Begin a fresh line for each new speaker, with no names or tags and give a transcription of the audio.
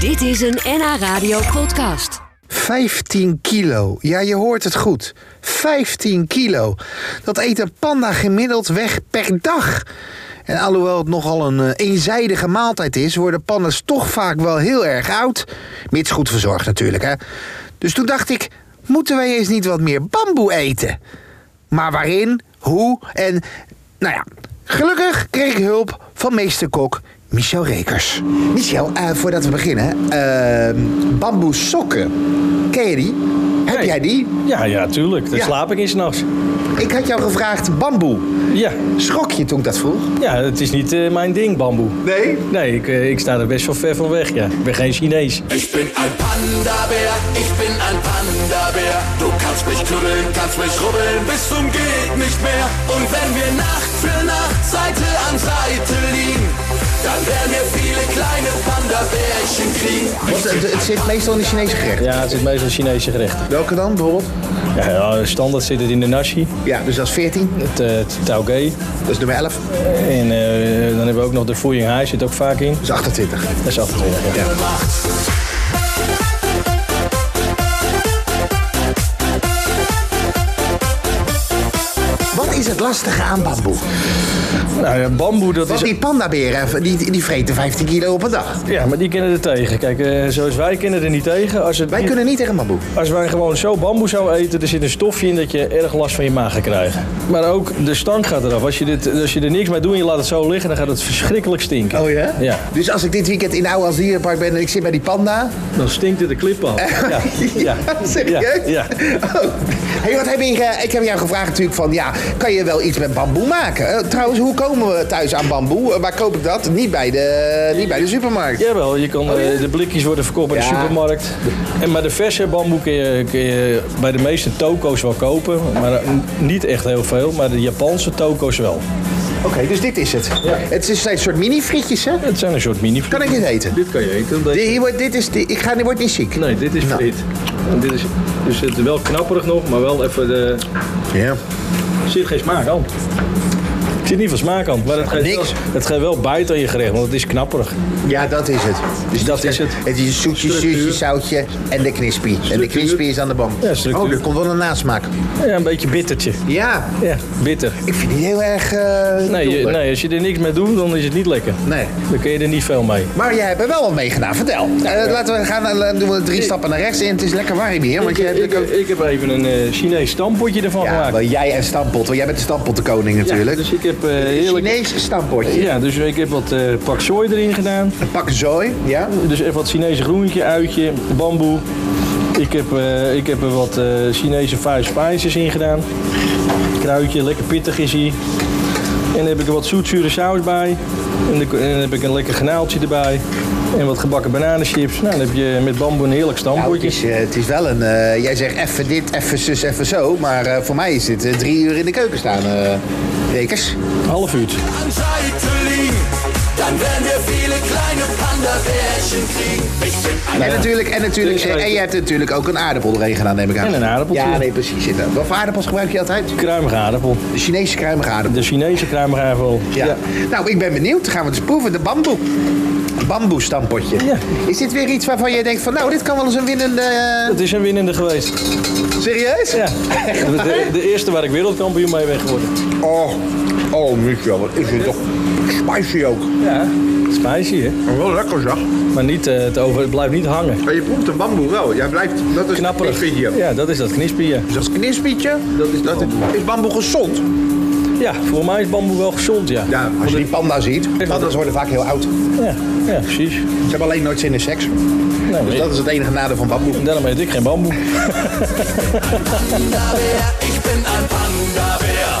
Dit is een NH Radio podcast.
15 kilo. Ja, je hoort het goed. 15 kilo. Dat eet een panda gemiddeld weg per dag. En alhoewel het nogal een eh, eenzijdige maaltijd is, worden pandas toch vaak wel heel erg oud. Mits goed verzorgd natuurlijk, hè. Dus toen dacht ik, moeten wij eens niet wat meer bamboe eten? Maar waarin, hoe en... Nou ja, gelukkig kreeg ik hulp van meesterkok Michel Rekers. Michel, eh, voordat we beginnen, eh, bamboe sokken. Ken je die? Heb
Nee.
jij die?
Ja, ja, tuurlijk. Daar
Ja.
slaap ik in s'nachts.
Ik had jou gevraagd bamboe.
Ja.
Schrok je toen ik dat vroeg?
ja, het is niet eh, mijn ding, bamboe.
Nee.
Nee, ik, eh, ik sta er best wel ver van weg, ja. Ik ben geen Chinees.
Ich bin ein Panda-Bär, ich bin ein Panda-Bär. Du kannst mich knuddeln, kannst mich rubbeln, bis zum geht nicht mehr. Und wenn wir Nacht für Nacht Seite an Seite liegen, dann werden wir viele kleine Panda-Bärchen kriegen.
Want het, het zit meestal in de Chinese gerecht.
Ja, het zit meestal Chinese gerechten.
Welke dan bijvoorbeeld?
Ja, ja, standaard zit het in de nashi,
Ja, dus dat is 14.
het, eh, het taugé.
Dat is nummer 11.
En eh, dan hebben we ook nog de foeing hai, zit ook vaak in.
Dat is 28.
Dat is 28, ja.
Wat is het lastige aan bamboe?
Nou ja, bamboe, dat
Want
is...
die pandaberen, die, die vreten 15 kilo op een dag.
Ja, maar die kennen er tegen. Kijk, eh, zoals wij kennen er niet tegen. Als, het
Wij
niet-
kunnen niet tegen bamboe.
Als wij gewoon zo bamboe zouden eten, er zit een stofje in dat je erg last van je maag gaat krijgen. Maar ook de stank gaat eraf. Als je, dit, als je er niks mee doet en je laat het zo liggen, dan gaat het verschrikkelijk stinken.
Oh ja?
Ja.
Dus als ik dit weekend in Oude Dierenpark ben en ik zit bij die panda.
Dan stinkt het de klip al. Ja.
Serieus?
Ja.
Oh. Hey, wat heb je, ge- ik heb jou gevraagd natuurlijk van, ja, kan je wel iets met bamboe maken? Eh, trouwens, hoe komen we thuis aan bamboe? Eh, waar koop ik dat? Niet bij de, niet bij de supermarkt.
Jawel, je kan, eh, de blikjes worden verkocht bij de
Oh, Ja.
supermarkt. En maar de verse bamboe kun je, kun je bij de meeste toko's wel kopen. Maar eh, niet echt heel veel, maar de Japanse toko's wel.
Oké, dus dit is het. Het is een soort mini-frietjes, hè?
Het zijn een soort mini
Kan ik dit eten?
Dit kan je eten. omdat je-
Dit, hier wordt, dit is, dit, ik ga, dit wordt niet ziek.
Nee, dit is
Nou.
friet. En dit is, dus het is wel knapperig nog, maar wel even de...
Ja.
Er zit geen smaak aan. Er zit niet veel smaak aan, maar het geeft,
Niks.
Wel, het geeft wel bijt aan je gerecht, want het is knapperig.
Ja, dat is het.
Dus dat is het.
Het is een zoetje,
Structuur.
zuurtje, zoutje en de crispy. En de
Structuur.
crispy is aan de bam.
Ja, structuur.
oh, er komt wel een nasmaak.
Ja, een beetje bittertje.
Ja,
Ja, bitter.
ik vind die heel erg... eh,
Nee, je-
bijzonder.
nee, als je er niks mee doet, dan is het niet lekker.
Nee.
Dan kun je er niet veel mee.
Maar jij hebt er wel wat mee gedaan, vertel. Eh, Laten we gaan, eh, doen we drie stappen naar rechts in. Het is lekker warm hier, want
Ik,
je hebt...
ik, ik heb even een eh, Chinees stampotje ervan
Ja,
gemaakt.
wel jij en stamppot, want jij bent de stampottenkoning natuurlijk.
dus ik heb eh heerlijk...
Chinees stamppotje.
Ja, dus ik heb wat eh pak choy erin gedaan.
Een pak zooi, ja.
Dus even wat Chinese groentje, uitje, bamboe. Ik heb, eh, ik heb er wat eh, Chinese vuist spijsjes in gedaan. Kruidje, lekker pittig is hij. En dan heb ik er wat zoetzure saus bij. En dan, en dan heb ik een lekker granaaltje erbij. En wat gebakken bananenchips. Nou, dan heb je met bamboe een heerlijk
Nou, het,
stampotje.
is, eh, het is wel een... eh, jij zegt even dit, even zus, even zo. Maar eh, voor mij is dit eh, drie uur in de keuken staan, eh Rekers.
Half uurtje.
An Seite liegen, dan werden wir viele kleine Panda-Bärchen kriegen. Ich bin ein
En natuurlijk, en, natuurlijk,
Nou Dus, eh,
en jij hebt natuurlijk ook een aardappel erin gedaan, neem ik aan.
En een aardappeltje.
Ja, nee, precies. inderdaad. Wat voor aardappels gebruik je altijd?
Kruimige aardappel.
De Chinese kruimige aardappel.
De Chinese kruimige aardappel.
Ja. Nou, ik ben benieuwd. Gaan we het eens proeven. De bamboe. Bamboe stampotje.
Ja.
Is dit weer iets waarvan je denkt van, nou, dit kan wel eens een winnende... eh,
Het is een winnende geweest.
Serieus?
Ja. De, de eerste waar ik wereldkampioen mee ben geworden.
Oh, oh, Michel, wat is dit toch spicy ook.
Ja. Spicy, hè?
Wel lekker zeg.
Maar niet, eh, het, over, het blijft niet hangen.
Maar je proeft een bamboe wel. Jij blijft, dat is
Knapperig.
Ik vind hier.
Ja, dat is dat knispier.
Dus dat is knispietje.
Dat is bamboe.
is bamboe gezond?
Ja, voor mij is bamboe wel gezond, ja.
Ja,
Als je die panda ziet, panda's worden vaak heel oud. Ze
Ja, ja, precies.
hebben alleen nooit zin in seks.
Nou,
Dus
ik-
dat is het enige nadeel van bamboe.
Daarom eet ik geen bamboe.
Panda-Bär, ich bin ein Panda-Bär.